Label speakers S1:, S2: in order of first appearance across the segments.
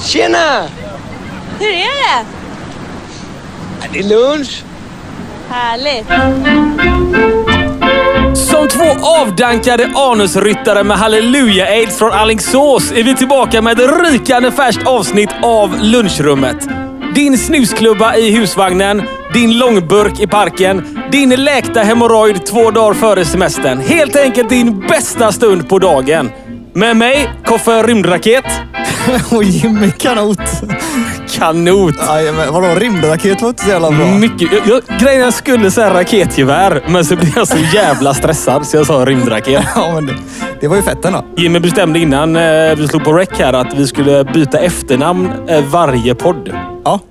S1: Tjena!
S2: Hur är det?
S1: Det är lunch.
S2: Härligt.
S3: Som två avdankade anusryttare med halleluja-aids från Alingsås är vi tillbaka med ett rykande färskt avsnitt av lunchrummet. Din snusklubba i husvagnen, din långburk i parken, din läkta hemorrojd två dagar före semestern. Helt enkelt din bästa stund på dagen. Med mig, Koffe Rymdraket.
S4: Och Jimmy Kanot.
S3: Kanot.
S4: Aj, men vadå, rymdraket var inte så jävla bra.
S3: Mycket. Jag, jag, grejen är, jag skulle säga raketgevär, men så blev jag så jävla stressad så jag sa rymdraket.
S4: Ja, men det, det var ju fett ändå.
S3: Jimmy bestämde innan eh, vi slog på rec här att vi skulle byta efternamn eh, varje podd.
S4: Ja,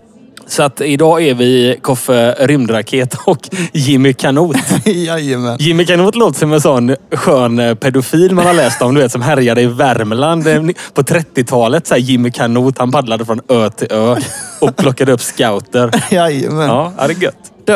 S3: Så att idag är vi Koffe Rymdraket och Jimmy Kanot.
S4: jajamän.
S3: Jimmy Kanot låter som en sån skön eh, pedofil man har läst om, du vet, som härjade i Värmland eh, på 30-talet. Så här, Jimmy Kanot, han paddlade från ö till ö och plockade upp scouter.
S4: Jajamän.
S3: Ja, ja, det är gött.
S4: Du,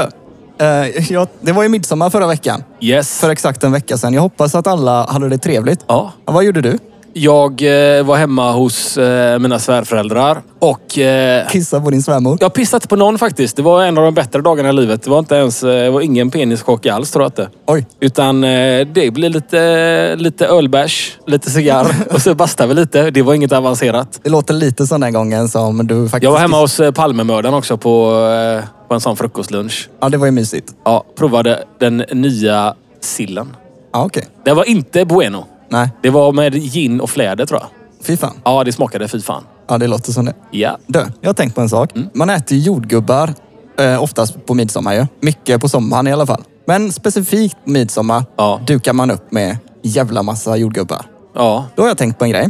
S4: eh, jag, det var ju midsommar förra veckan.
S3: Yes.
S4: För exakt en vecka sedan. Jag hoppas att alla hade det trevligt.
S3: Ja.
S4: Vad gjorde du?
S3: Jag eh, var hemma hos eh, mina svärföräldrar och eh,
S4: Kissa på din svärmor?
S3: Jag har pissat på någon faktiskt. Det var en av de bättre dagarna i livet. Det var inte ens, eh, det var ingen penischock alls tror jag inte.
S4: Oj.
S3: Utan eh, det blev lite, eh, lite ölbärs, lite cigarr och så bastade vi lite. Det var inget avancerat.
S4: Det låter lite som den gången som du faktiskt...
S3: Jag var hemma hos eh, Palmemördaren också på, eh, på en sån frukostlunch.
S4: Ja, det var ju mysigt.
S3: Ja, provade den nya sillen.
S4: Ja, okej.
S3: Det var inte bueno.
S4: Nej,
S3: Det var med gin och fläder tror jag.
S4: fy fan.
S3: Ja, det smakade fy fan.
S4: Ja, det låter som det.
S3: Ja.
S4: Du, jag har tänkt på en sak.
S3: Mm.
S4: Man äter ju jordgubbar eh, oftast på midsommar ju. Mycket på sommaren i alla fall. Men specifikt på midsommar
S3: Ja.
S4: dukar man upp med jävla massa jordgubbar.
S3: Ja.
S4: Då har jag tänkt på en grej.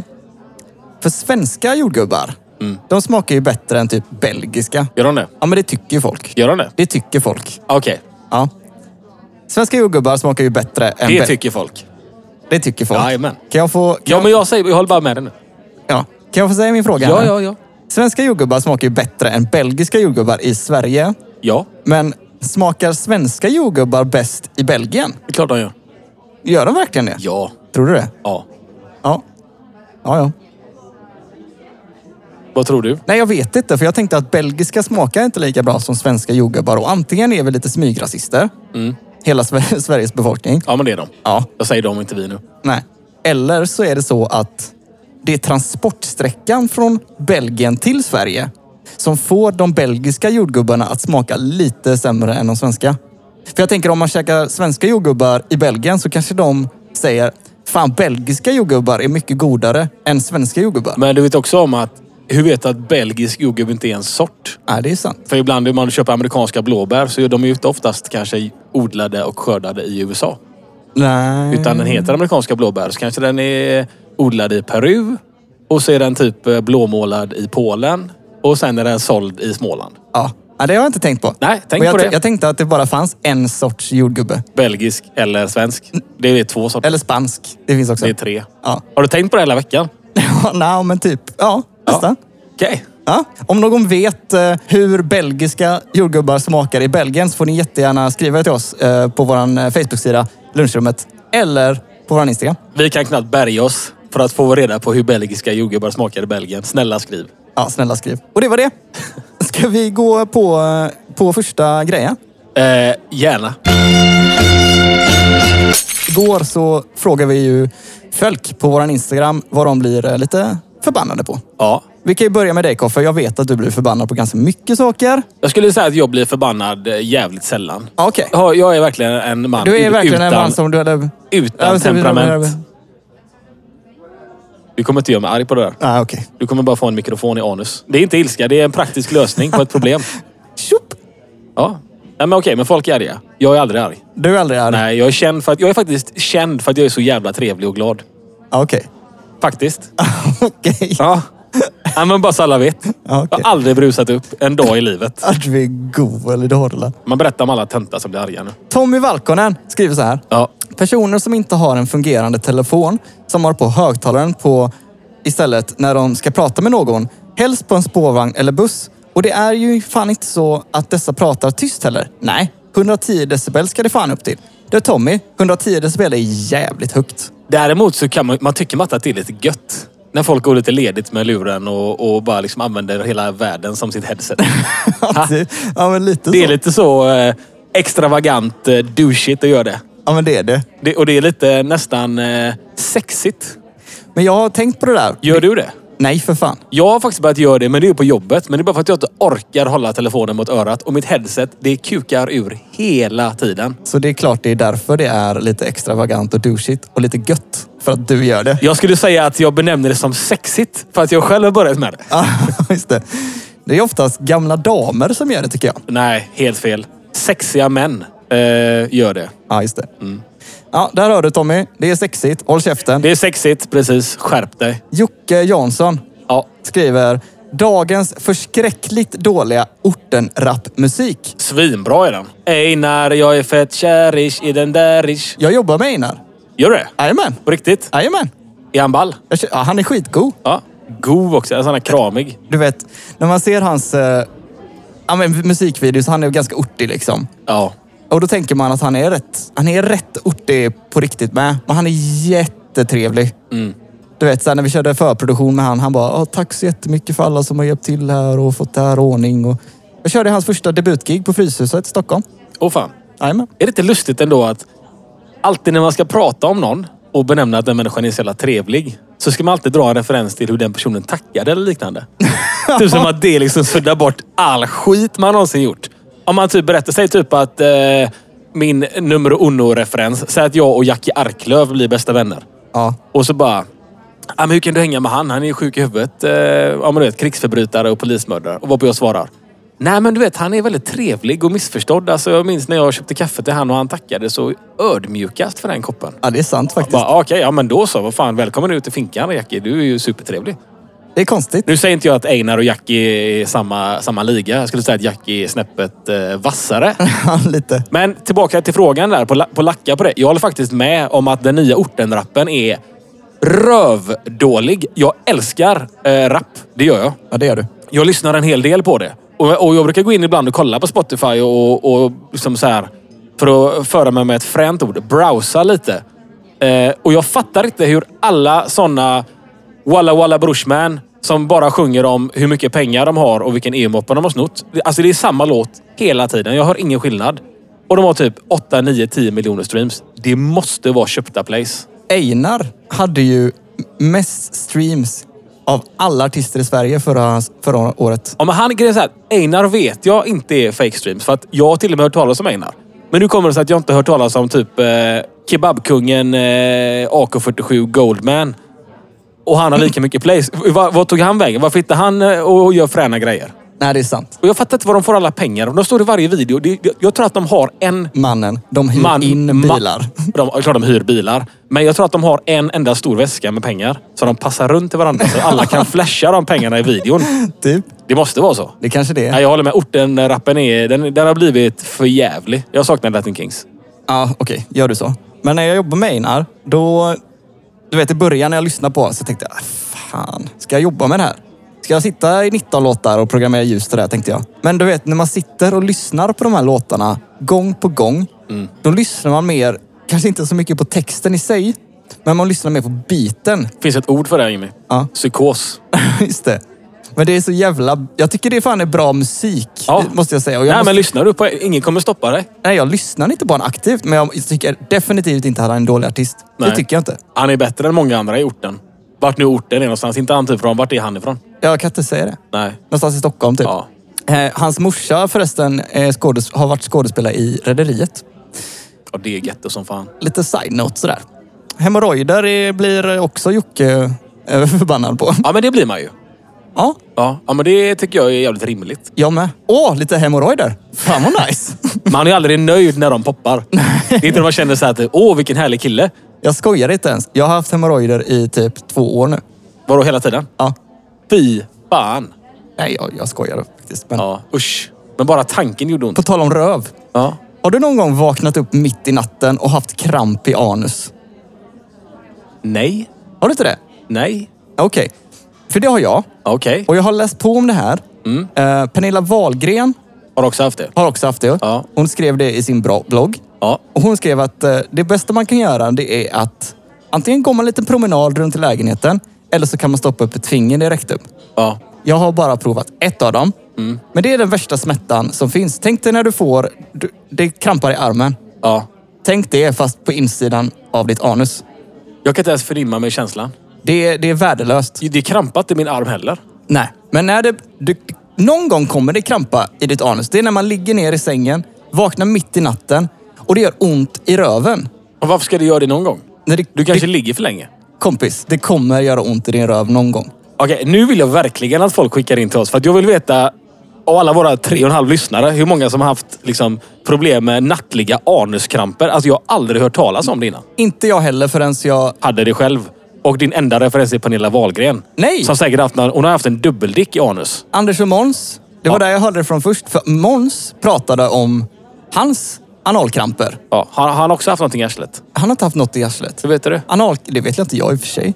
S4: För svenska jordgubbar,
S3: Mm.
S4: de smakar ju bättre än typ belgiska.
S3: Gör de det?
S4: Ja, men det tycker ju folk.
S3: Gör de det?
S4: Det tycker folk.
S3: Okej.
S4: Ja. Svenska jordgubbar smakar ju bättre än...
S3: Det
S4: bel-
S3: tycker folk.
S4: det tycker folk.
S3: Jajamän.
S4: Kan jag få... Kan
S3: Ja, men jag, säger, jag håller bara med dig nu.
S4: ja. Kan jag få säga min fråga?
S3: Ja,
S4: nu?
S3: ja, ja.
S4: Svenska jordgubbar smakar ju bättre än belgiska jordgubbar i Sverige.
S3: Ja,
S4: Men smakar svenska jordgubbar bäst i Belgien?
S3: det är klart de gör.
S4: Gör de verkligen det?
S3: Ja.
S4: Tror du det?
S3: ja.
S4: Ja. Ja, ja.
S3: Vad tror du?
S4: Nej, jag vet inte. För jag tänkte att belgiska smakar inte lika bra som svenska jordgubbar. Och antingen är vi lite smygrasister. Hela Sver- Sveriges befolkning.
S3: Ja, men det är de.
S4: Ja.
S3: Jag säger de, inte vi nu.
S4: Nej. Eller så är det så att det är transportsträckan från Belgien till Sverige som får de belgiska jordgubbarna att smaka lite sämre än de svenska. För jag tänker om man käkar svenska jordgubbar i Belgien så kanske de säger Fan, belgiska jordgubbar är mycket godare än svenska jordgubbar.
S3: Men du vet också om att... Hur vet du att belgisk jordgubb inte är en sort?
S4: Nej, det är sant.
S3: För ibland när man köper amerikanska blåbär så är de ju oftast kanske odlade och skördade i USA.
S4: Nej.
S3: Utan den heter amerikanska blåbär så kanske den är odlad i Peru. Och så är den typ eh, blåmålad i Polen. Och sen är den såld i Småland.
S4: Ja. ja, det har jag inte tänkt på.
S3: Nej, tänk
S4: Och jag,
S3: på det.
S4: Jag tänkte att det bara fanns en sorts jordgubbe.
S3: Belgisk eller svensk. Det är två sorter.
S4: Eller spansk. Det finns också.
S3: Det är tre.
S4: Ja.
S3: Har du tänkt på det hela veckan?
S4: Ja, nej, men typ. Ja, nästan.
S3: Okej.
S4: Ja, om någon vet eh, hur belgiska jordgubbar smakar i Belgien så får ni jättegärna skriva till oss eh, på vår eh, Facebook-sida Lunchrummet eller på vår Instagram.
S3: Vi kan knappt bärga oss för att få reda på hur belgiska jordgubbar smakar i Belgien. Snälla skriv.
S4: Ja, snälla skriv. Och det var det. Ska vi gå på, eh, på första grejen?
S3: Eh, gärna.
S4: Igår så frågade vi ju folk på vår Instagram vad de blir eh, lite förbannade på.
S3: Ja.
S4: Vi kan ju börja med dig Koffe. Jag vet att du blir förbannad på ganska mycket saker.
S3: Jag skulle säga att jag blir förbannad eh, jävligt sällan.
S4: Ja, Okej.
S3: Ja, Jag är verkligen en man
S4: Du är
S3: ut-
S4: verkligen
S3: utan,
S4: en man som du hade...
S3: utan
S4: Ja, så vi-
S3: temperament. Du kommer inte göra mig arg på det där.
S4: Ah, Okej.
S3: Du kommer bara få en mikrofon i anus. Det är inte ilska, det är en praktisk lösning på ett problem.
S4: Tjopp!
S3: Ja. Nej, men okej, men folk är arga. Jag är aldrig arg.
S4: Du är aldrig arg?
S3: Nej, jag är, känd för att, jag är faktiskt känd för att jag är så jävla trevlig och glad.
S4: Ja, Ah, Okej.
S3: Faktiskt.
S4: Okej.
S3: Ja. Nej, men bara så alla vet.
S4: Ja, okej.
S3: Jag har aldrig brusat upp en dag i livet.
S4: Att vi är go eller dåliga.
S3: Man berättar om alla töntar som blir arga nu.
S4: Tommy Valkonen skriver så här.
S3: Ja.
S4: Personer som inte har en fungerande telefon som har på högtalaren på istället när de ska prata med någon. Helst på en spårvagn eller buss. Och det är ju fan inte så att dessa pratar tyst heller. Nej, 110 decibel ska det fan upp till. Du Tommy, 110 decibel är jävligt högt.
S3: Däremot så kan man, man tycker man att det är lite gött. När folk går lite ledigt med luren och, och bara liksom använder hela världen som sitt headset.
S4: Alltid. Ja, men lite
S3: Det är
S4: så.
S3: lite så eh, extravagant eh, douchigt att göra det.
S4: Ja, men det är det.
S3: det. Och det är lite nästan eh, sexigt.
S4: Men jag har tänkt på det där.
S3: Gör du det?
S4: Nej, för fan.
S3: Jag har faktiskt börjat göra det, men det är på jobbet. Men det är bara för att jag inte orkar hålla telefonen mot örat. Och mitt headset, det kukar ur hela tiden.
S4: Så det är klart det är därför det är lite extravagant och douchigt och lite gött. För att du gör det.
S3: Jag skulle säga att jag benämner det som sexigt, för att jag själv har börjat med det.
S4: Ja, just det. Det är oftast gamla damer som gör det tycker jag.
S3: Nej, helt fel. Sexiga män eh, gör det.
S4: Ja, just det. Ja, där hör du Tommy. Det är sexigt. Håll käften.
S3: Mm. Det är sexigt, precis. Skärp dig.
S4: Jocke Jansson
S3: Ja.
S4: skriver Dagens förskräckligt dåliga ortenrapmusik.
S3: Svinbra är den. Einar, jag är fett kärish i den därish.
S4: Jag jobbar med Einar.
S3: Gör du det?
S4: Jajamän.
S3: På riktigt?
S4: Jajamän.
S3: Är han ball?
S4: Jag kö- Ja, han är skitgod.
S3: Ja. God också. Alltså han är kramig.
S4: Du vet, när man ser hans eh, ja, men musikvideos, han är ju ganska ortig liksom.
S3: Ja.
S4: Och då tänker man att han är rätt, han är rätt ortig på riktigt med. Men han är jättetrevlig.
S3: Mm.
S4: Du vet, så här, när vi körde förproduktion med han, han bara "Ja, “Tack så jättemycket för alla som har hjälpt till här och fått det här i ordning”. Och jag körde hans första debutgig på Fryshuset i Stockholm.
S3: Åh fan.
S4: Jajamän.
S3: Är det inte lustigt ändå att alltid när man ska prata om någon och benämna att den människan är så jävla trevlig så ska man alltid dra en referens till hur den personen tackade eller liknande. typ som att det liksom suddar bort all skit man någonsin gjort. Om man typ berättar, säg typ att eh, min nummer uno-referens, säg att jag och Jackie Arklöv blir bästa vänner.
S4: Ja.
S3: Och så bara... Ah, men hur kan du hänga med han? Han är ju sjuk i huvudet. Eh, ja, men du vet, krigsförbrytare och polismördare. Och varpå jag svarar. Nej, men du vet, han är väldigt trevlig och missförstådd. Alltså, jag minns när jag köpte kaffe till han och han tackade så ödmjukast för den koppen.
S4: ja, det är sant faktiskt.
S3: Bara, ah, okej, ja men då så. Vad fan, välkommen ut till finkan Jackie. Du är ju supertrevlig.
S4: Det är konstigt.
S3: Nu säger inte jag att Einar och Jackie är i samma, samma liga. Jag skulle säga att Jackie är snäppet eh, vassare.
S4: Ja, Lite.
S3: Men tillbaka till frågan där, på, la- på lacka på det. Jag håller faktiskt med om att den nya ortenrappen är rövdålig. Jag älskar eh, rap, det gör jag.
S4: Ja, det gör du.
S3: Jag lyssnar en hel del på det. Och, och jag brukar gå in ibland och kolla på Spotify och, och liksom så här, för att föra mig med ett fränt ord, browsa lite. Eh, och jag fattar inte hur alla sådana Walla Walla Brushman som bara sjunger om hur mycket pengar de har och vilken EU-moppe de har snott. Alltså det är samma låt hela tiden. Jag hör ingen skillnad. Och de har typ 8, 9, 10 miljoner streams. Det måste vara köpta plays.
S4: Einar hade ju mest streams av alla artister i Sverige förra, förra året.
S3: Ja, men han grejen är så här, Einar vet jag inte är fake streams för att jag har till och med hört talas om Einar. Men nu kommer det sig att jag inte hört talas om typ eh, kebabkungen eh, AK47 Goldman. Och han har lika mycket plays. Va- Vad tog han vägen? Varför hittar han eh, och och gör fräna grejer?
S4: Nej, det är sant.
S3: Och jag fattar inte var de får alla pengar. De står i varje video. Det- jag- Jag tror att de har en
S4: Mannen, de hyr
S3: man...
S4: in
S3: ma-
S4: bilar.
S3: De, ja, klart de hyr bilar. Men jag tror att de har en enda stor väska med pengar. Så de passar runt till varandra. Så alla kan flasha de pengarna i videon.
S4: Typ.
S3: Det måste vara så.
S4: Det kanske det är.
S3: Nej, jag håller med. Orten-rappen är, den, den har blivit för jävlig. Jag saknar Latin Kings.
S4: Ja, okej. Gör du så. Men när jag jobbar med Einar, då... Du vet, i början när jag lyssnade på så tänkte jag, "Ah, fan, ska jag jobba med det här? Ska jag sitta i 19 låtar och programmera ljus till det här, tänkte jag. Men du vet, när man sitter och lyssnar på de här låtarna gång på gång,
S3: Mm.
S4: då lyssnar man mer, kanske inte så mycket på texten i sig, men man lyssnar mer på biten.
S3: Finns ett ord för det här, Jimmy?
S4: Ja.
S3: Psykos.
S4: Just det. Men det är så jävla... Jag tycker det fan är bra musik,
S3: Ja.
S4: måste jag säga. Och jag
S3: Nej,
S4: måste...
S3: men lyssnar du på Ingen kommer stoppa dig.
S4: Nej, jag lyssnar inte på honom aktivt, men jag tycker definitivt inte att han är en dålig artist. Det
S3: Nej.
S4: tycker jag inte.
S3: Han är bättre än många andra i orten. Vart nu orten är någonstans. Inte han typ från. Vart är han ifrån?
S4: Jag kan inte säga det.
S3: Nej.
S4: Någonstans i Stockholm typ.
S3: Ja.
S4: Eh, Hans morsa förresten är skådes- har varit skådespelare i Rederiet.
S3: ja det är getto som fan.
S4: Lite side-note sådär. Hemorrojder är- blir också Jocke eh, förbannad på.
S3: Ja, men det blir man ju.
S4: Ja,
S3: Ja, ja men det tycker jag är jävligt rimligt.
S4: jag med. Åh, lite hemorrojder. Fan vad nice.
S3: Man är ju aldrig nöjd när de poppar. Det är inte när man känner så här typ, åh vilken härlig kille.
S4: jag skojar inte ens. Jag har haft hemorrojder i typ två år nu.
S3: Vadå hela tiden?
S4: Ja.
S3: Fy fan.
S4: Nej, jag, jag skojar faktiskt. Men
S3: Ja, usch. Men bara tanken gjorde ont.
S4: På tal om röv.
S3: Ja.
S4: Har du någon gång vaknat upp mitt i natten och haft kramp i anus?
S3: Nej.
S4: Har du inte det?
S3: Nej.
S4: Okej. För det har jag.
S3: Okej.
S4: Och jag har läst på om det här. Eh, Pernilla Wahlgren
S3: Har du också haft det?
S4: har också haft det.
S3: Ja.
S4: Hon skrev det i sin bra- blogg.
S3: Ja.
S4: Och hon skrev att eh, det bästa man kan göra det är att antingen gå en liten promenad runt i lägenheten Eller så kan man stoppa upp ett finger i rektum.
S3: Ja.
S4: Jag har bara provat ett av dem. Men det är den värsta smärtan som finns. Tänk dig när du får... Du, det krampar i armen.
S3: ja.
S4: Tänk det fast på insidan av ditt anus.
S3: Jag kan inte ens förnimma mig känslan.
S4: Det, är- det är värdelöst.
S3: Det är krampat i min arm heller.
S4: Nej, men när det... Du, någon gång kommer det krampa i ditt anus. Det är när man ligger ner i sängen, vaknar mitt i natten och det gör ont i röven.
S3: Och varför ska du göra det någon gång?
S4: När det,
S3: Du kanske
S4: det,
S3: ligger för länge.
S4: kompis, det kommer göra ont i din röv någon gång.
S3: Okej, nu vill jag verkligen att folk skickar in till oss. För att jag vill veta, av alla våra tre och en halv lyssnare, hur många som har haft liksom, problem med nattliga anuskramper. Alltså jag har aldrig hört talas om det innan.
S4: Inte jag heller förrän jag...
S3: Hade det själv. Och din enda referens är Pernilla Wahlgren.
S4: Nej!
S3: Som säkert haft, någon- hon har haft en dubbeldick i anus.
S4: Anders och Måns, det var
S3: Ja.
S4: där jag hörde det från först. För Måns pratade om hans analkramper.
S3: Ja, har har han också haft någonting i arslet?
S4: Han har inte haft något i arslet.
S3: Så vet du det?
S4: Anal... Det vet jag inte jag i och för sig.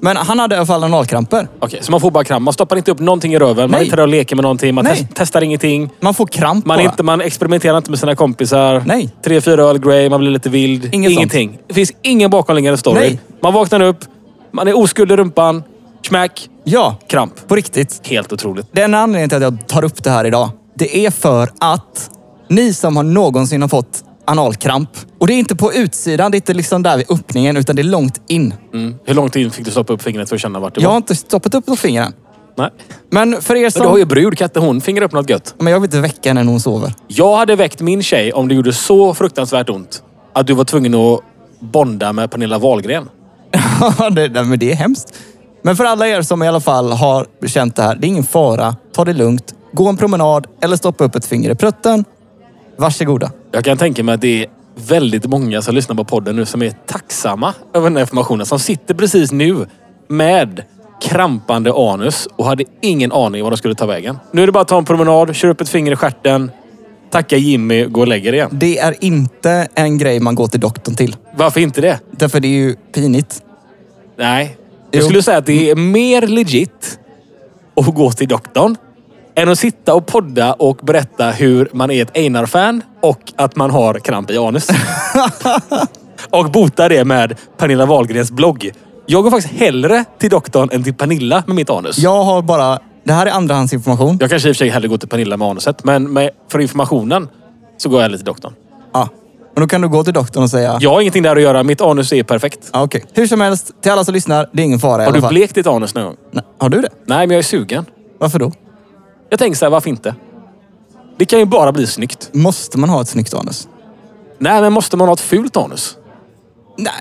S4: Men han hade i alla fall analkramper.
S3: Okej, så man får bara kram. Man stoppar inte upp någonting i röven. Man är
S4: Nej.
S3: inte där och leker med någonting. Man
S4: Nej.
S3: tes- testar ingenting.
S4: Man får kramp
S3: Man, är
S4: bara.
S3: inte, man experimenterar inte med sina kompisar.
S4: Nej.
S3: Tre, fyra öl grey, man blir lite vild.
S4: Inget
S3: Ingenting. Det finns ingen bakomliggande story.
S4: Nej.
S3: Man vaknar upp, man är oskuld i rumpan. Smack,
S4: Ja,
S3: kramp.
S4: på riktigt.
S3: Helt otroligt.
S4: Det enda anledningen till att jag tar upp det här idag, det är för att ni som har någonsin har fått analkramp, och det är inte på utsidan, det är inte liksom där vid öppningen, utan det är långt in.
S3: Mm. Hur lång tid fick du stoppa upp fingret för att känna vart det
S4: Jag har
S3: var?
S4: inte stoppat upp på fingrarna.
S3: Nej.
S4: Men för er
S3: Men du har
S4: som...
S3: ju brud. Kan inte hon fingrar upp något gött?
S4: Men jag vill inte väcka henne när hon sover.
S3: Jag hade väckt min tjej om det gjorde så fruktansvärt ont att du var tvungen att bonda med Pernilla Wahlgren.
S4: Ja, det, nej, men det är hemskt. Men för alla er som i alla fall har känt det här, det är ingen fara. Ta det lugnt. Gå en promenad eller stoppa upp ett finger i prutten. Varsågoda.
S3: Jag kan tänka mig att det är väldigt många som lyssnar på podden nu som är tacksamma över den här informationen. Som sitter precis nu med krampande anus och hade ingen aning vad de skulle ta vägen. Nu är det bara att ta en promenad, köra upp ett finger i stjärten, tacka Jimmy, gå och lägga dig igen.
S4: Det är inte en grej man går till doktorn till.
S3: Varför inte det?
S4: Därför det är ju pinigt.
S3: Nej. Jag
S4: Jo.
S3: skulle säga att det är mer legit att gå till doktorn än att sitta och podda och berätta hur man är ett Einar-fan och att man har kramp i anus. och bota det med Pernilla Wahlgrens blogg. Jag går faktiskt hellre till doktorn än till Pernilla med mitt anus.
S4: Jag har bara... Det här är andrahandsinformation.
S3: Jag kanske i och för sig hellre går till Pernilla med anuset, men med, för informationen så går jag hellre till doktorn.
S4: Ja. Men då kan du gå till doktorn och säga...
S3: Jag har ingenting där att göra. Mitt anus är perfekt.
S4: Ja, okej. Hur som helst, till alla som lyssnar, det är ingen fara i
S3: Har
S4: alla
S3: du
S4: fall.
S3: blekt ditt anus någon gång?
S4: Nej, har du det?
S3: Nej, men jag är sugen.
S4: Varför då?
S3: Jag tänker så här, varför inte? Det kan ju bara bli snyggt.
S4: Måste man ha ett snyggt anus?
S3: Nej, men måste man ha ett fult anus?
S4: Nej.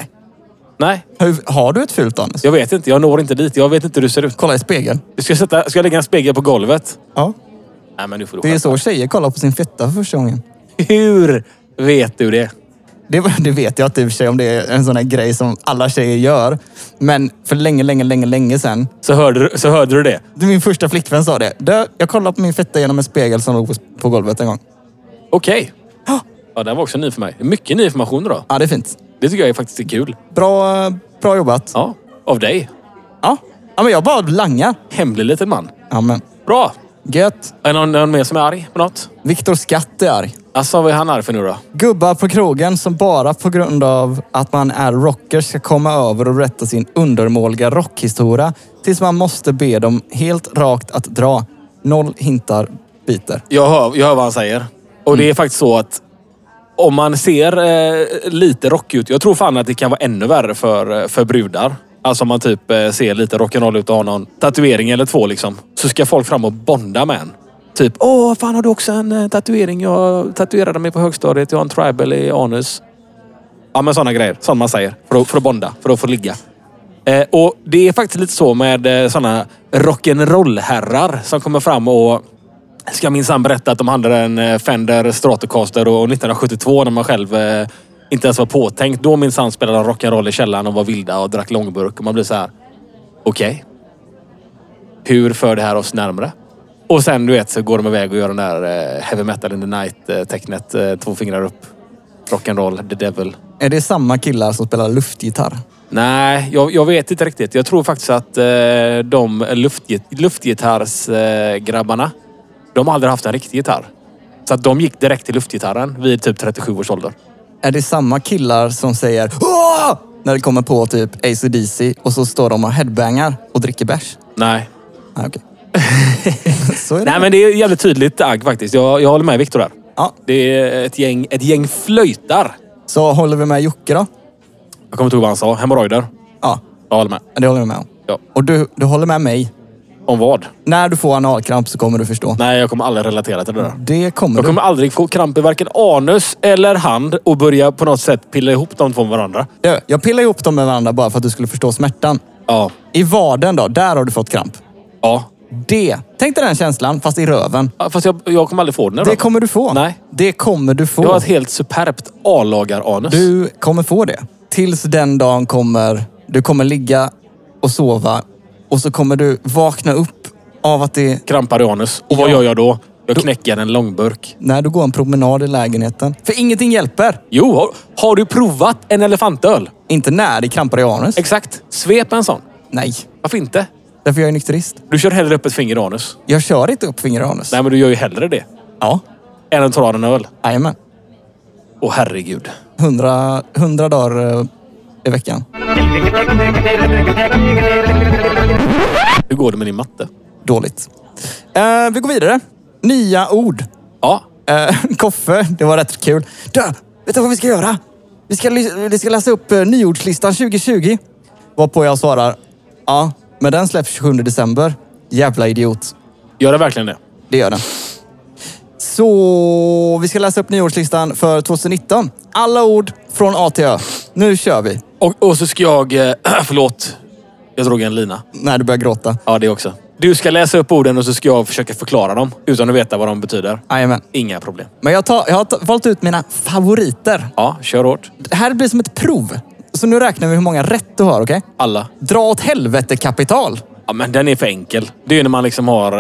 S3: Nej,
S4: Hur, har du ett fult anus?
S3: jag vet inte. Jag når inte dit. Jag vet inte hur du ser ut.
S4: Kolla i spegeln.
S3: Ska jag, sätta, ska jag lägga en spegel på golvet?
S4: Ja.
S3: Nej, men nu får du
S4: Det är
S3: skämta.
S4: så tjejer kollar på sin fitta för första gången.
S3: Hur vet du det?
S4: Det, var- det vet jag inte i och för sig om det är en sån här grej som alla tjejer gör. Men för länge, länge, länge, länge sedan.
S3: Så hörde, du- så hörde du det.
S4: Min första flickvän sa det. Du, jag kollade på min fitta genom en spegel som låg på, på golvet en gång.
S3: Okej. Ja, den var också ny för mig. Mycket ny information då.
S4: Ja, det är fint.
S3: Det tycker jag är faktiskt är kul.
S4: Bra, bra jobbat.
S3: Ja, av dig.
S4: Ja. ja, men jag bara langar.
S3: Hemlig liten man.
S4: Ja, men
S3: Bra.
S4: gött.
S3: Är det någon, någon mer som är arg på något?
S4: Viktor Skatt är arg.
S3: Alltså, vad är han arg för nu då?
S4: Gubbar på krogen som bara på grund av att man är rocker ska komma över och berätta sin undermåliga rockhistoria tills man måste be dem helt rakt att dra. Noll hintar biter.
S3: Jag hör, jag hör vad han säger. Och det är faktiskt så att om man ser eh, lite rockig ut. Jag tror fan att det kan vara ännu värre för, eh, för brudar. Alltså om man typ eh, ser lite rock'n'roll ut och har någon tatuering eller två liksom. Så ska folk fram och bonda med en. Typ, åh fan har du också en eh, tatuering? Jag tatuerade mig på högstadiet. Jag har en tribal i anus. Ja men sådana grejer. Sånt man säger. För att, för att bonda. För att få ligga. Eh, och det är faktiskt lite så med eh, sådana rock'n'roll-herrar som kommer fram och ska minsann berätta att de handlade en eh, Fender Stratocaster och 1972 när man själv eh, inte ens var påtänkt. Då minsann spelade de rock'n'roll i källaren och var vilda och drack långburk. Och man blir så här. Okej. Hur för det här oss närmre? Och sen du vet så går de iväg och gör den där eh, heavy metal in the night eh, tecknet. Eh, två fingrar upp. Rock'n'roll, the devil.
S4: Är det samma killar som spelar luftgitarr?
S3: Nej, jag, jag vet inte riktigt. Jag tror faktiskt att eh, de luftgit, luftgitarrsgrabbarna, eh, grabbarna, de har aldrig haft en riktig gitarr. Så att de gick direkt till luftgitarren vid typ 37 års ålder.
S4: Är det samma killar som säger Åh! När det kommer på typ AC/DC och så står de och headbangar och dricker bärs.
S3: Nej.
S4: Ah, okej. så är det.
S3: Nej, men det är jävligt tydligt agg faktiskt. Jag, jag håller med Viktor där.
S4: Ja,
S3: Det är ett gäng, ett gäng flöjtar.
S4: så håller vi med Jocke då?
S3: Jag kommer inte ihåg vad han sa. Hemorrojder.
S4: Ja,
S3: Jag håller med.
S4: det håller du med om.
S3: Ja.
S4: Och du, du håller med mig.
S3: Om vad?
S4: När du får analkramp så kommer du förstå.
S3: Nej, jag kommer aldrig relatera till det där.
S4: Det kommer
S3: Jag
S4: du.
S3: kommer aldrig få kramp i varken anus eller hand och börja på något sätt pilla ihop de två med varandra.
S4: Du, jag pillar ihop dem med varandra bara för att du skulle förstå smärtan.
S3: Ja.
S4: I vaden då, där har du fått kramp.
S3: Ja.
S4: Det. Tänk dig den känslan, fast i röven.
S3: Ja, Fast jag, jag kommer aldrig få den. här
S4: Det
S3: då.
S4: kommer du få.
S3: Nej.
S4: Det kommer du
S3: Jag har
S4: få.
S3: ett helt superbt A-lagar-anus.
S4: Du kommer få det. Tills den dagen kommer, du kommer ligga och sova och så kommer du vakna upp av att det...
S3: Krampar i anus. Och vad
S4: Ja.
S3: gör jag då? Jag knäcker en långburk.
S4: När du går en promenad i lägenheten. För ingenting hjälper.
S3: Jo, har, har du provat en elefantöl?
S4: Inte när det krampar i anus.
S3: Exakt. Svep en sån.
S4: Nej,
S3: Varför inte?
S4: därför jag är nykterist.
S3: Du kör hellre upp ett finger i anus.
S4: Jag kör inte upp finger i anus.
S3: Nej, men du gör ju hellre det.
S4: Ja,
S3: Än att ta en öl.
S4: jajamän.
S3: Åh herregud.
S4: 100, 100 dagar eh, i veckan.
S3: Hur går det med din matte?
S4: Dåligt. Eh, vi går vidare. Nya ord.
S3: Ja.
S4: Eh, Koffe, det var rätt kul. Du, vet du vad vi ska göra? Vi ska, ly- vi ska läsa upp eh, nyordslistan 2020. Varpå jag svarar, ja, men den släpps 27 december. Jävla idiot.
S3: Gör det verkligen det?
S4: Det gör den. Så vi ska läsa upp nyordslistan för 2019. Alla ord från A till Ö. Nu kör vi.
S3: Och, och så ska jag... eh, Förlåt. Jag drog en lina.
S4: När du börjar gråta.
S3: Ja, det också. Du ska läsa upp orden och så ska jag försöka förklara dem utan att veta vad de betyder.
S4: Jajamän.
S3: Inga problem.
S4: Men jag, tar, jag har ta- valt ut mina favoriter.
S3: Ja, kör hårt.
S4: Det här blir som ett prov. Så nu räknar vi hur många rätt du har, okej?
S3: Alla.
S4: Dra åt helvete kapital.
S3: Ja, men den är för enkel. Det är ju när man liksom har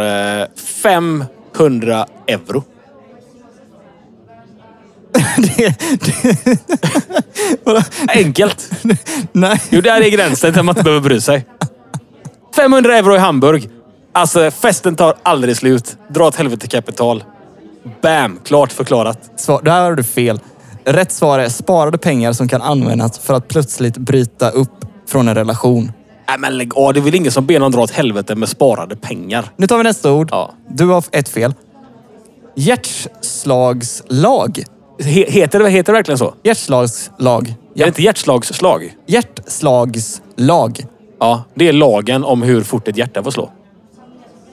S3: eh, 500 euro.
S4: det, det, Vadå?
S3: Enkelt!
S4: Nej.
S3: Jo, där är gränsen där man inte behöver bry sig. 500 euro i Hamburg. Alltså, festen tar aldrig slut. Dra åt helvete kapital. Bam! Klart förklarat.
S4: Svar, där har du fel. Rätt svar är sparade pengar som kan användas för att plötsligt bryta upp från en relation.
S3: Nej, men lägg av. Det är väl ingen som ber någon dra åt helvete med sparade pengar.
S4: Nu tar vi nästa ord.
S3: Ja.
S4: Du har ett fel. Hjärtslagslag.
S3: He- heter, det, heter det verkligen så?
S4: Hjärtslagslag.
S3: Är det inte hjärtslagsslag?
S4: Hjärtslagslag.
S3: Ja, det är lagen om hur fort ett hjärta får slå.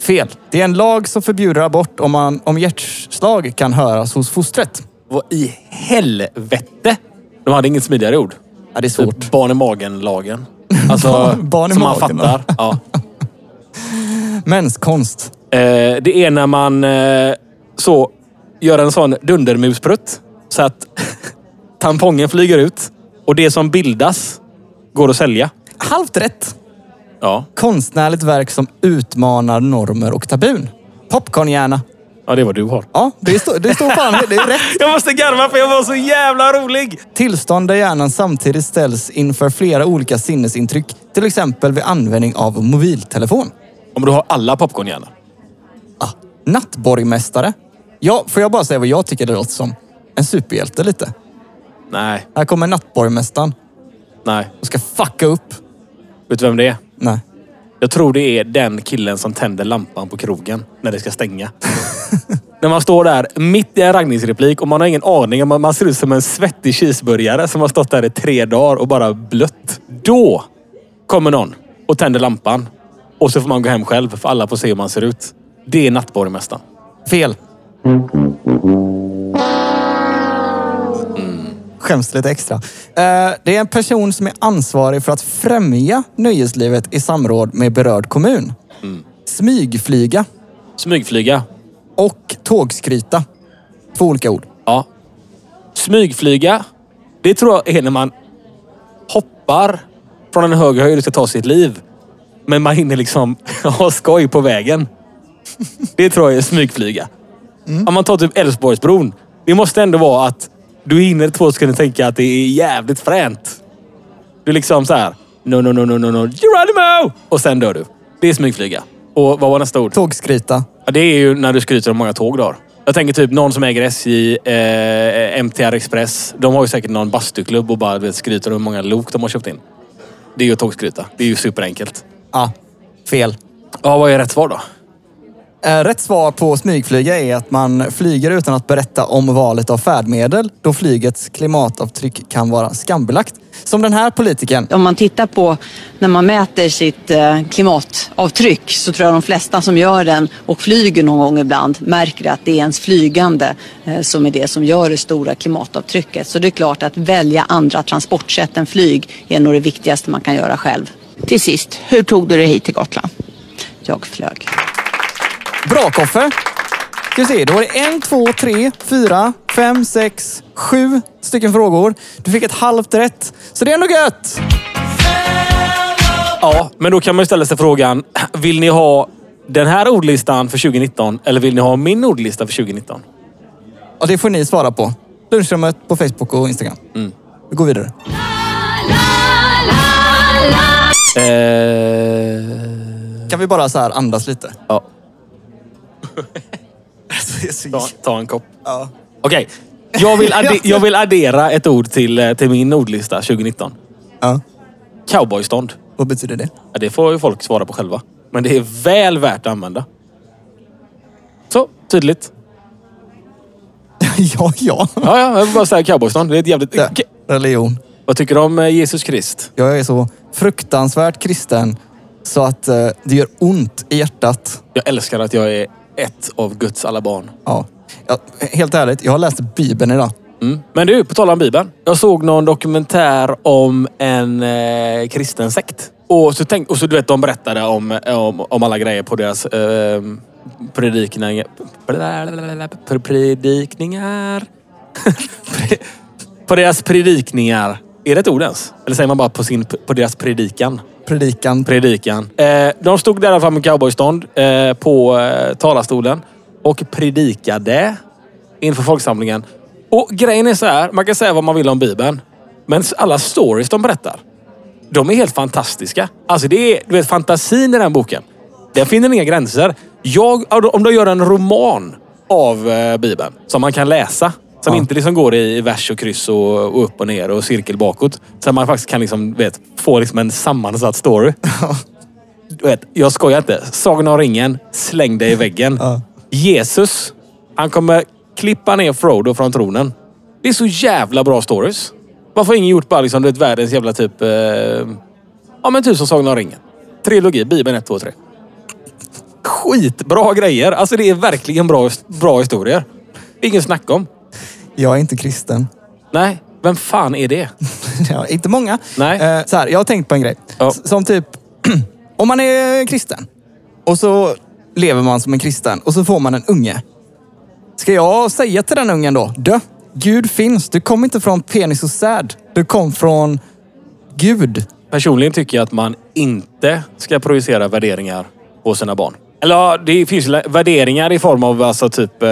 S4: Fel. Det är en lag som förbjuder abort om, man, om hjärtslag kan höras hos fostret.
S3: Vad i helvete? De hade inget smidigare ord.
S4: Ja, det är
S3: Typ
S4: svårt.
S3: barn i magen-lagen. Alltså,
S4: Barn- barn i
S3: som man
S4: magen,
S3: fattar. Ja.
S4: Menskonst.
S3: Eh, det är när man eh, så gör en sån dundermusprutt så att tampongen flyger ut och det som bildas går att sälja.
S4: Halvt rätt.
S3: Ja,
S4: Konstnärligt verk som utmanar normer och tabun. Popcornhjärna.
S3: ja det är vad du har.
S4: Ja, det, står- det står fan det är rätt.
S3: Jag måste garva för jag var så jävla rolig!
S4: Tillstånd där hjärnan samtidigt ställs inför flera olika sinnesintryck. Till exempel vid användning av mobiltelefon.
S3: Om du har alla popcornhjärnor.
S4: Ah, nattborgmästare. Ja, får jag bara säga vad jag tycker det låter som? En superhjälte lite.
S3: Nej,
S4: Här kommer nattborgmästaren
S3: nej.
S4: och ska fucka upp.
S3: Vet du vem det är?
S4: Nej.
S3: Jag tror det är den killen som tänder lampan på krogen när det ska stänga. när man står där mitt i en raggningsreplik och man har ingen aning. om- Man ser ut som en svettig cheeseburgare som har stått där i tre dagar och bara blött. Då kommer någon och tänder lampan. Och så får man gå hem själv för alla får se hur man ser ut. Det är nattborgmästaren.
S4: Fel. Mm. Skäms lite extra. Eh, Det är en person som är ansvarig för att främja nöjeslivet i samråd med berörd kommun. Smygflyga
S3: Smygflyga.
S4: och tågskryta. Två olika ord.
S3: Ja. Smygflyga. Det tror jag är när man hoppar från en hög höjd och ska ta sitt liv. Men man hinner liksom ha skoj på vägen. Det tror jag är smygflyga. Om man tar typ Älvsborgsbron. Det måste ändå vara att du hinner två sekunder tänka att det är jävligt fränt. Du liksom så här. No, no, no, no, no, no. Geronimo! Och sen dör du. Det är smygflyga. Och vad var nästa ord?
S4: Tågskryta.
S3: Ja, det är ju när du skryter om hur många tåg du har. Jag tänker typ någon som äger SJ, eh, MTR Express. De har ju säkert någon bastuklubb och bara vet, skryter om hur många lok de har köpt in. Det är ju att tågskryta. Det är ju superenkelt.
S4: Ah, fel.
S3: Ja, vad är rätt svar då?
S4: Eh, Rätt svar på smygflyga är att man flyger utan att berätta om valet av färdmedel då flygets klimatavtryck kan vara skambelagt. Som den här politikern.
S5: Om man tittar på när man mäter sitt eh, klimatavtryck så tror jag de flesta som gör den och flyger någon gång ibland märker att det är ens flygande eh, som är det som gör det stora klimatavtrycket. Så det är klart att välja andra transportsätt än flyg är nog det viktigaste man kan göra själv.
S6: Till sist, hur tog du dig hit till Gotland?
S5: Jag flög.
S4: Bra Koffe! Ska vi se, då var det en, två, tre, fyra, fem, sex, sju stycken frågor. Du fick ett halvt rätt. Så det är ändå gött!
S3: Ja, men då kan man ju ställa sig frågan. Vill ni ha den här ordlistan för 2019 eller vill ni ha min ordlista för 2019?
S4: Och det får ni svara på. Lunchrummet på Facebook och Instagram. Vi går vidare.
S3: Eh...
S4: Kan vi bara så här andas lite? Alltså,
S3: Ja.
S4: Det är så
S3: Ta, ta en kopp.
S4: Ja.
S3: Okej. Jag, vill adde- jag vill addera ett ord till, eh, till min ordlista 2019.
S4: ja.
S3: Cowboystånd.
S4: Vad betyder det?
S3: Ja, det får ju folk svara på själva. Men det är väl värt att använda. Så, tydligt.
S4: ja, ja.
S3: Ja, ja, jag vill bara säga cowboystånd. Det är ett jävligt...
S4: Det. Religion.
S3: Vad tycker du om eh, Jesus Krist?
S4: Jag är så fruktansvärt kristen så att eh, det gör ont i hjärtat.
S3: Jag älskar att jag är ett av Guds alla barn.
S4: Ja. Ja, helt ärligt, jag har läst Bibeln idag.
S3: Mm. Men du, på tal om Bibeln. Jag såg någon dokumentär om en eh, kristen sekt. Och så, tänk, och så du vet, de berättade om, om, om alla grejer på deras eh, predikningar. Predikningar. på deras predikningar. Är det ett ord ens? Eller säger man bara på, sin, på deras predikan?
S4: Predikan.
S3: predikan. Eh, de stod där framme med cowboystånd eh, på eh, talarstolen och predikade inför folksamlingen. Och grejen är så här, man kan säga vad man vill om Bibeln. Men s- alla stories de berättar, de är helt fantastiska. Alltså det är, du vet, fantasin i den boken. Den finner inga gränser. Jag, om de gör en roman av eh, Bibeln som man kan läsa. Som
S4: Ja.
S3: inte liksom går i vers och kryss och, och upp och ner och cirkel bakåt. Så att man faktiskt kan liksom, vet, få liksom en sammansatt story. Du vet, jag skojar inte. Sagan om ringen, släng dig i väggen.
S4: Ja.
S3: Jesus, han kommer klippa ner Frodo från tronen. Det är så jävla bra stories. Varför har ingen gjort bara liksom, du vet, världens jävla typ... Eh, ja men typ som Sagan om ringen. Trilogi, Bibeln 1, 2, 3. Skitbra grejer. Alltså det är verkligen bra, bra historier. Ingen snack om.
S4: Jag är inte kristen.
S3: Nej, vem fan är det?
S4: ja, inte många.
S3: Nej.
S4: Eh, så här, jag har tänkt på en grej.
S3: Ja.
S4: S- Som typ, om man är kristen och så lever man som en kristen och så får man en unge. Ska jag säga till den ungen då, dö, Gud finns. Du kom inte från penis och säd. Du kom från Gud.
S3: Personligen tycker jag att man inte ska projicera värderingar på sina barn. Eller ja, det finns ju värderingar i form av alltså typ... Eh,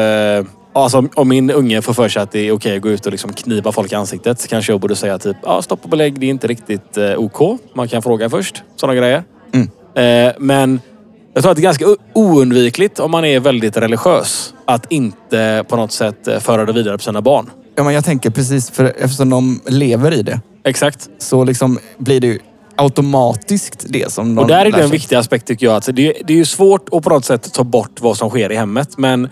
S3: alltså om- om min unge får för sig att det är okej att gå ut och liksom kniva folk i ansiktet så kanske jag borde säga typ ja, stopp och belägg, det är inte riktigt eh, OK. Man kan fråga först. Sådana grejer. Eh, men jag tror att det är ganska o- oundvikligt om man är väldigt religiös att inte på något sätt eh, föra det vidare på sina barn.
S4: Ja, men jag tänker precis, för eftersom de lever i det
S3: Exakt.
S4: så liksom blir det ju automatiskt det som de
S3: Och där är
S4: lär
S3: det en
S4: sig.
S3: viktig aspekt tycker jag. Alltså det, det är ju svårt att på något sätt ta bort vad som sker i hemmet. Men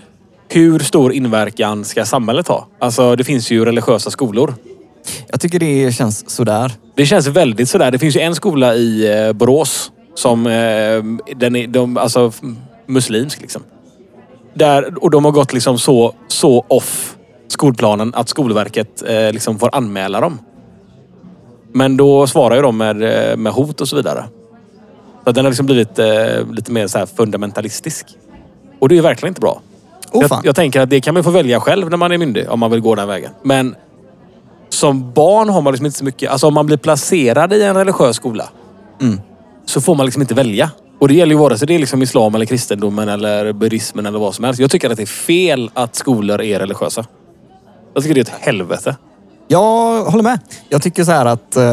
S3: hur stor inverkan ska samhället ha? Alltså det finns ju religiösa skolor.
S4: Jag tycker det känns sådär.
S3: Det känns väldigt sådär. Det finns ju en skola i eh, Borås som eh, den är de, alltså, f- muslimsk. Liksom. Där, och de har gått liksom så, så off skolplanen att Skolverket eh, liksom får anmäla dem. Men då svarar ju de med, eh, med hot och så vidare. Så att den har liksom blivit eh, lite mer så här fundamentalistisk. Och det är ju verkligen inte bra.
S4: Oh,
S3: Jag,
S4: fan.
S3: jag tänker att det kan man få välja själv när man är myndig, om man vill gå den vägen. Men som barn har man liksom inte så mycket... Alltså om man blir placerad i en religiös skola så får man liksom inte välja. Och det gäller ju vare sig det är liksom islam eller kristendomen eller buddhismen eller vad som helst. Jag tycker att det är fel att skolor är religiösa. Jag tycker det är ett helvete.
S4: Jag håller med. Jag tycker så här att eh,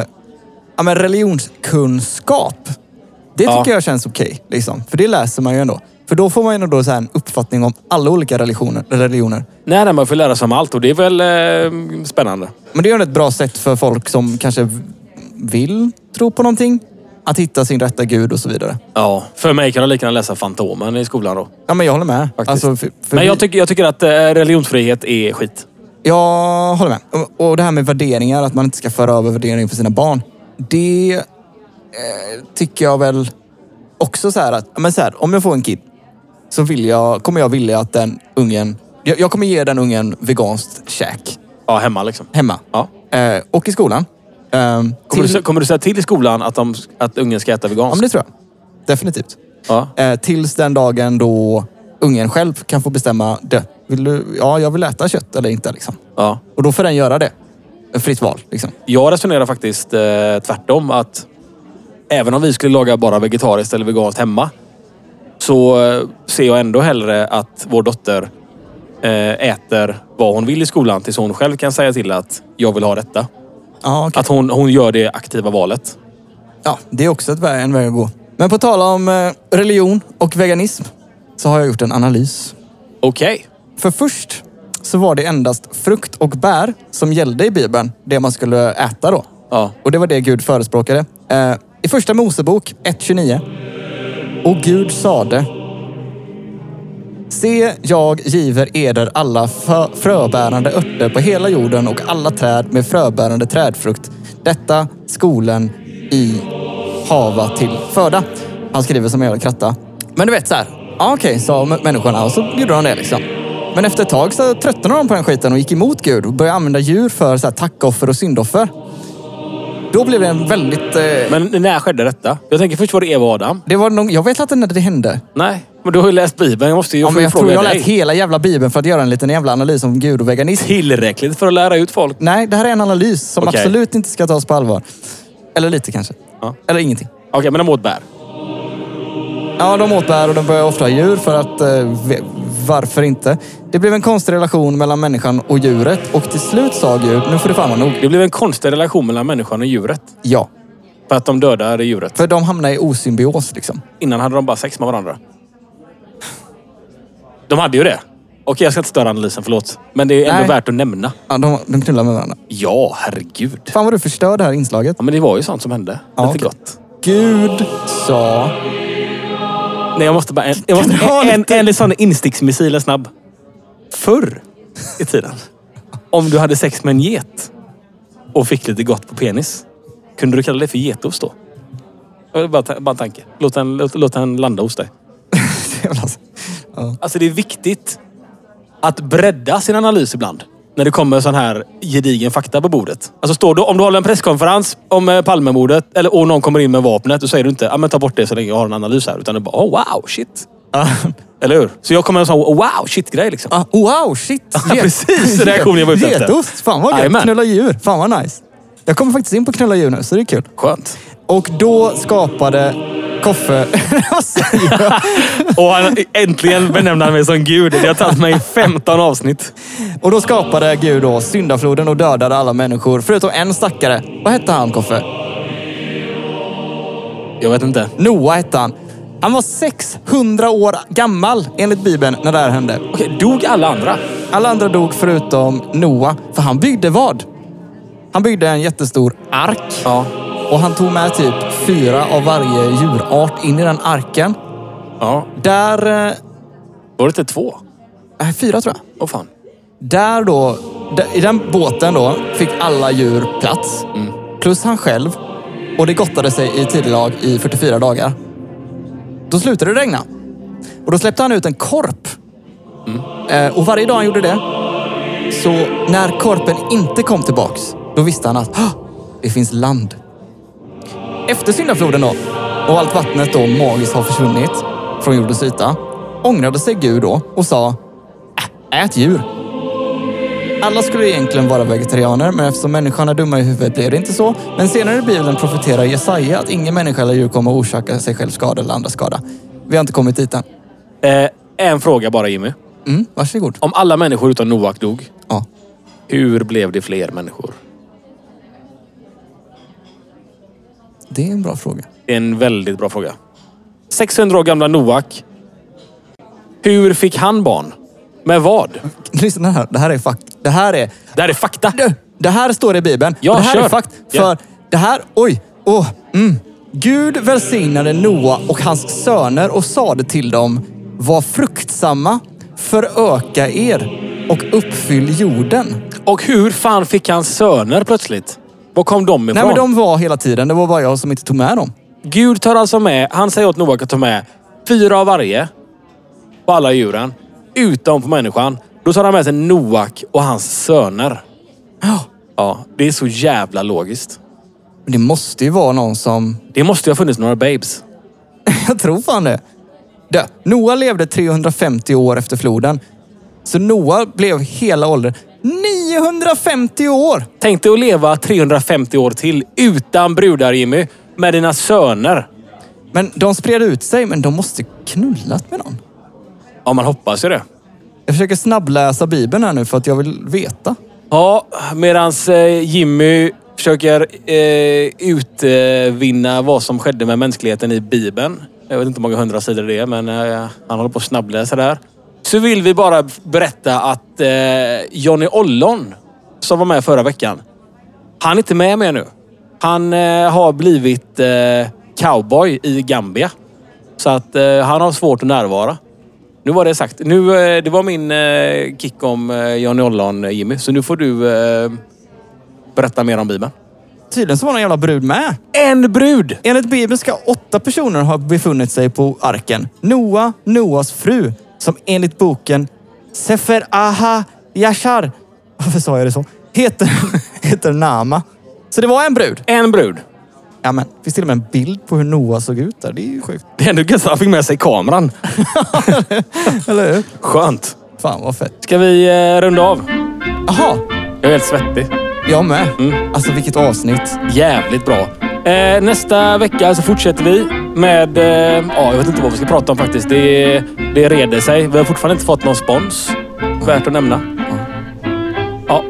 S4: ja, men religionskunskap, det
S3: Ja.
S4: tycker jag känns okej. liksom. För det läser man ju ändå. För då får man ju ändå så här en uppfattning om alla olika religioner. religioner.
S3: Nej, nej, man får lära sig om allt och det är väl eh, spännande.
S4: Men det är ju ett bra sätt för folk som kanske v- vill tro på någonting. Att hitta sin rätta gud och så vidare.
S3: Ja, för mig kan jag lika gärna läsa Fantomen i skolan då.
S4: Ja, men jag håller med.
S3: Faktiskt.
S4: Alltså, för, för
S3: Men jag,
S4: vi-
S3: tycker- jag tycker att eh, religionsfrihet är skit.
S4: Jag håller med. Och- Och det här med värderingar, att man inte ska föra över värderingar på sina barn. Det eh, tycker jag väl också så här att, ja, men så här, om jag får en kid så vill jag, kommer jag vilja att den ungen, jag, jag kommer ge den ungen veganskt käk
S3: Ja, hemma liksom.
S4: hemma.
S3: Ja.
S4: Eh, och i skolan. Eh,
S3: Kommer,
S4: till,
S3: du, kommer du säga till i skolan att, de, att ungen ska äta
S4: ja, men
S3: veganskt?
S4: det tror jag. Definitivt.
S3: Ja.
S4: Eh, tills den dagen då ungen själv kan få bestämma, "Du, vill du, ja jag vill äta kött eller inte liksom.
S3: ja.
S4: Och då får den göra det. Fritt val liksom.
S3: Jag resonerar faktiskt eh, tvärtom. Att även om vi skulle laga bara vegetariskt eller veganskt hemma. Så eh, ser jag ändå hellre att vår dotter eh, äter vad hon vill i skolan. Tills hon själv kan säga till att jag vill ha detta.
S4: Ja, okej.
S3: Att hon, hon gör det aktiva valet.
S4: Ja, det är också ett vä- en väg att gå. Men på tal om eh, religion och veganism så har jag gjort en analys.
S3: Okej.
S4: För först så var det endast frukt och bär som gällde i Bibeln, det man skulle äta då.
S3: Ja.
S4: Och det var det Gud förespråkade. Eh, I första Mosebok 1.29. Och Gud sade. Se, jag giver eder alla fö- fröbärande örter på hela jorden och alla träd med fröbärande trädfrukt. Detta skolen i hava till föda. Han skriver som en jävla kratta. Men du vet så här. Ja, okej, sa m- människorna och så gjorde de det liksom. Men efter ett tag så tröttnade de på den skiten och gick emot Gud och började använda djur för så här, tackoffer och syndoffer. Då blev det en väldigt... Eh,
S3: Men när skedde detta? Jag tänker först var det Eva och Adam.
S4: det var någon, jag vet inte när det hände.
S3: Nej, men du har ju läst Bibeln. Jag måste ju
S4: Ja,
S3: få
S4: men jag
S3: fråga
S4: tror jag
S3: dig.
S4: läst hela jävla Bibeln för att göra en liten jävla analys om Gud och veganism.
S3: Tillräckligt för att lära ut folk.
S4: Nej, det här är en analys som
S3: Okej.
S4: absolut inte ska tas på allvar. Eller lite kanske.
S3: Ja.
S4: Eller ingenting.
S3: Okej, men de åt bär.
S4: Ja, de åt bär och de började offra djur för att... Eh, ve- varför inte? Det blev en konstig relation mellan människan och djuret och till slut sa Gud, nu får det fan vara nog.
S3: Det blev en konstig relation mellan människan och djuret.
S4: Ja.
S3: För att de dödade djuret.
S4: För de hamnade i osymbios liksom.
S3: Innan hade de bara sex med varandra. De hade ju det. Okej, jag ska inte störa analysen, förlåt. Men det är ändå
S4: Nej.
S3: värt att nämna.
S4: Ja, de, de knullar med varandra.
S3: Ja, herregud.
S4: Fan vad du förstör det här inslaget.
S3: Ja, men det var ju sånt som hände.
S4: Ja,
S3: Lite
S4: okej.
S3: gott.
S4: Gud sa...
S3: Nej, jag måste bara... En, jag måste,
S4: ha
S3: en, en, en sån insticksmissil är snabb. Förr i tiden. Om du hade sex med en get och fick lite gott på penis. Kunde du kalla det för getost då? Det var Bara, ta- bara en tanke. Låt den, låt, låt den landa hos dig. Alltså det är viktigt att bredda sin analys ibland. När det kommer sån här gedigen fakta på bordet. Alltså står du, om du håller en presskonferens om eh, Palmemordet eller och någon kommer in med vapnet. Då säger du inte ja men ta bort det så länge jag har en analys här. Utan du bara oh, wow, shit.
S4: Ja.
S3: Eller hur? Så jag kommer med en sån wow, shit-grej liksom.
S4: Ah, wow, shit! Get-
S3: precis, reaktionen jag var ute efter.
S4: Getost! Fan vad gött!
S3: Jajamän.
S4: Knulla djur. Fan vad nice. Jag kommer faktiskt in på knulla djur nu, så det är kul.
S3: Skönt.
S4: Och då skapade Koffe... vad säger jag?
S3: Och han, äntligen benämnde han mig som gud. Det har tagit mig 15 avsnitt.
S4: och då skapade Gud då syndafloden och dödade alla människor, förutom en stackare. Vad hette han, Koffe?
S3: Jag vet inte.
S4: Noa hette han. Han var 600 år gammal, enligt Bibeln, när det här hände.
S3: Okej, dog alla andra?
S4: Alla andra dog förutom Noa, för han byggde vad? Han byggde en jättestor ark.
S3: Ja.
S4: Och han tog med typ fyra av varje djurart in i den arken.
S3: ja.
S4: Där... eh,
S3: Var det inte två?
S4: Nej, fyra tror jag.
S3: Åh fan.
S4: Där då... där- I den båten då fick alla djur plats. Plus han själv. Och det gottade sig i tidelag i 44 dagar. Då slutade det regna. Och då släppte han ut en korp. Eh, och varje dag han gjorde det, så när korpen inte kom tillbaks, då visste han att "Hå! det finns land. Efter syndafloden då, och allt vattnet då magiskt har försvunnit från jordens yta, ångrade sig Gud då och sa "Äh, Ät djur. Alla skulle egentligen vara vegetarianer, men eftersom människan är dumma i huvudet blev det inte så. Men senare i Bibeln profeterar Jesaja att ingen människa eller djur kommer att orsaka sig själv skada eller andra skada. Vi har inte kommit dit än.
S3: Eh, en fråga bara Jimmy.
S4: Mm, varsågod.
S3: Om alla människor utom Noak dog,
S4: Ja.
S3: hur blev det fler människor?
S4: Det är en bra fråga.
S3: Det är en väldigt bra fråga. 600 år gamla Noak Hur fick han barn? Med vad?
S4: Lyssna här. Det här är fakt. Det här är...
S3: Det här är fakta.
S4: Du, Det här står i Bibeln.
S3: Ja,
S4: det här
S3: kör.
S4: är fakt. För
S3: Ja.
S4: det här... Oj! Åh! mm. Gud välsignade Noa och hans söner och sade till dem, var fruktsamma, föröka er och uppfyll jorden.
S3: Och hur fan fick han söner plötsligt? Var kom de ifrån?
S4: Nej men de var hela tiden, det var bara jag som inte tog med dem.
S3: Gud tar alltså med, han säger åt Noak att ta med fyra av varje på alla djuren. Utom på människan. Då tar han med sig Noak och hans söner.
S4: Ja.
S3: Ja, det är så jävla logiskt.
S4: Men det måste ju vara någon som...
S3: Det måste ju ha funnits några babes.
S4: Jag tror fan det. Dö. Noa levde 350 år efter floden. Så Noa blev hela åldern 950 år!
S3: Tänk dig att leva 350 år till utan brudar Jimmy. Med dina söner.
S4: Men de spred ut sig, men de måste knullat med någon.
S3: Ja, man hoppas ju det.
S4: Jag försöker snabbläsa Bibeln här nu för att jag vill veta.
S3: Ja, medans eh, Jimmy försöker eh, utvinna vad som skedde med mänskligheten i Bibeln. Jag vet inte hur många hundra sidor det är, men eh, han håller på att snabbläsa där. Så vill vi bara berätta att eh, Johnny Ollon, som var med förra veckan, han är inte med mer nu. Han eh, har blivit eh, cowboy i Gambia. Så att eh, han har svårt att närvara. Nu var det sagt. Nu, eh, det var min eh, kick om eh, Johnny Ollon, eh, Jimmy. Så nu får du eh, berätta mer om Bibeln.
S4: Tydligen så var någon jävla brud med.
S3: En brud!
S4: Enligt Bibeln ska åtta personer ha befunnit sig på arken. Noa, Noas fru, som enligt boken Sefer Aha Yashar, varför sa jag det så? Heter, heter Nama. Så det var en brud.
S3: En brud.
S4: Ja, men, finns till och med en bild på hur Noa såg ut där. Det är ju sjukt.
S3: Det är ändå gött att han fick med sig kameran.
S4: Eller hur?
S3: Skönt.
S4: Fan vad fett.
S3: Ska vi eh, runda av?
S4: Jaha,
S3: Jag är helt svettig.
S4: jag med. Alltså vilket avsnitt.
S3: Jävligt bra. Eh, nästa vecka så fortsätter vi med... Eh, ja, jag vet inte vad vi ska prata om faktiskt. Det, det reder sig. Vi har fortfarande inte fått någon spons. Värt att nämna. Ja,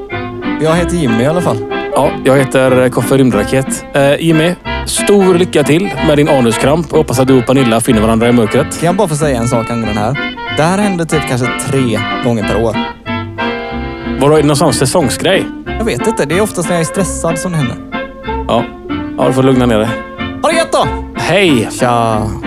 S4: Jag heter Jimmy i alla fall.
S3: Ja, jag heter Koffe Rymdraket. Eh, Jimmy, stor lycka till med din anuskramp. Jag hoppas att du och Pernilla finner varandra i mörkret.
S4: Kan jag bara få säga en sak angående den här? Det här händer typ kanske tre gånger per år.
S3: Vadå, är det någon sån säsongsgrej?
S4: Jag vet inte, det är oftast när jag är stressad som det händer.
S3: Ja, ja du får lugna ner dig.
S4: Ha det gött då!
S3: Hej!
S4: Tja!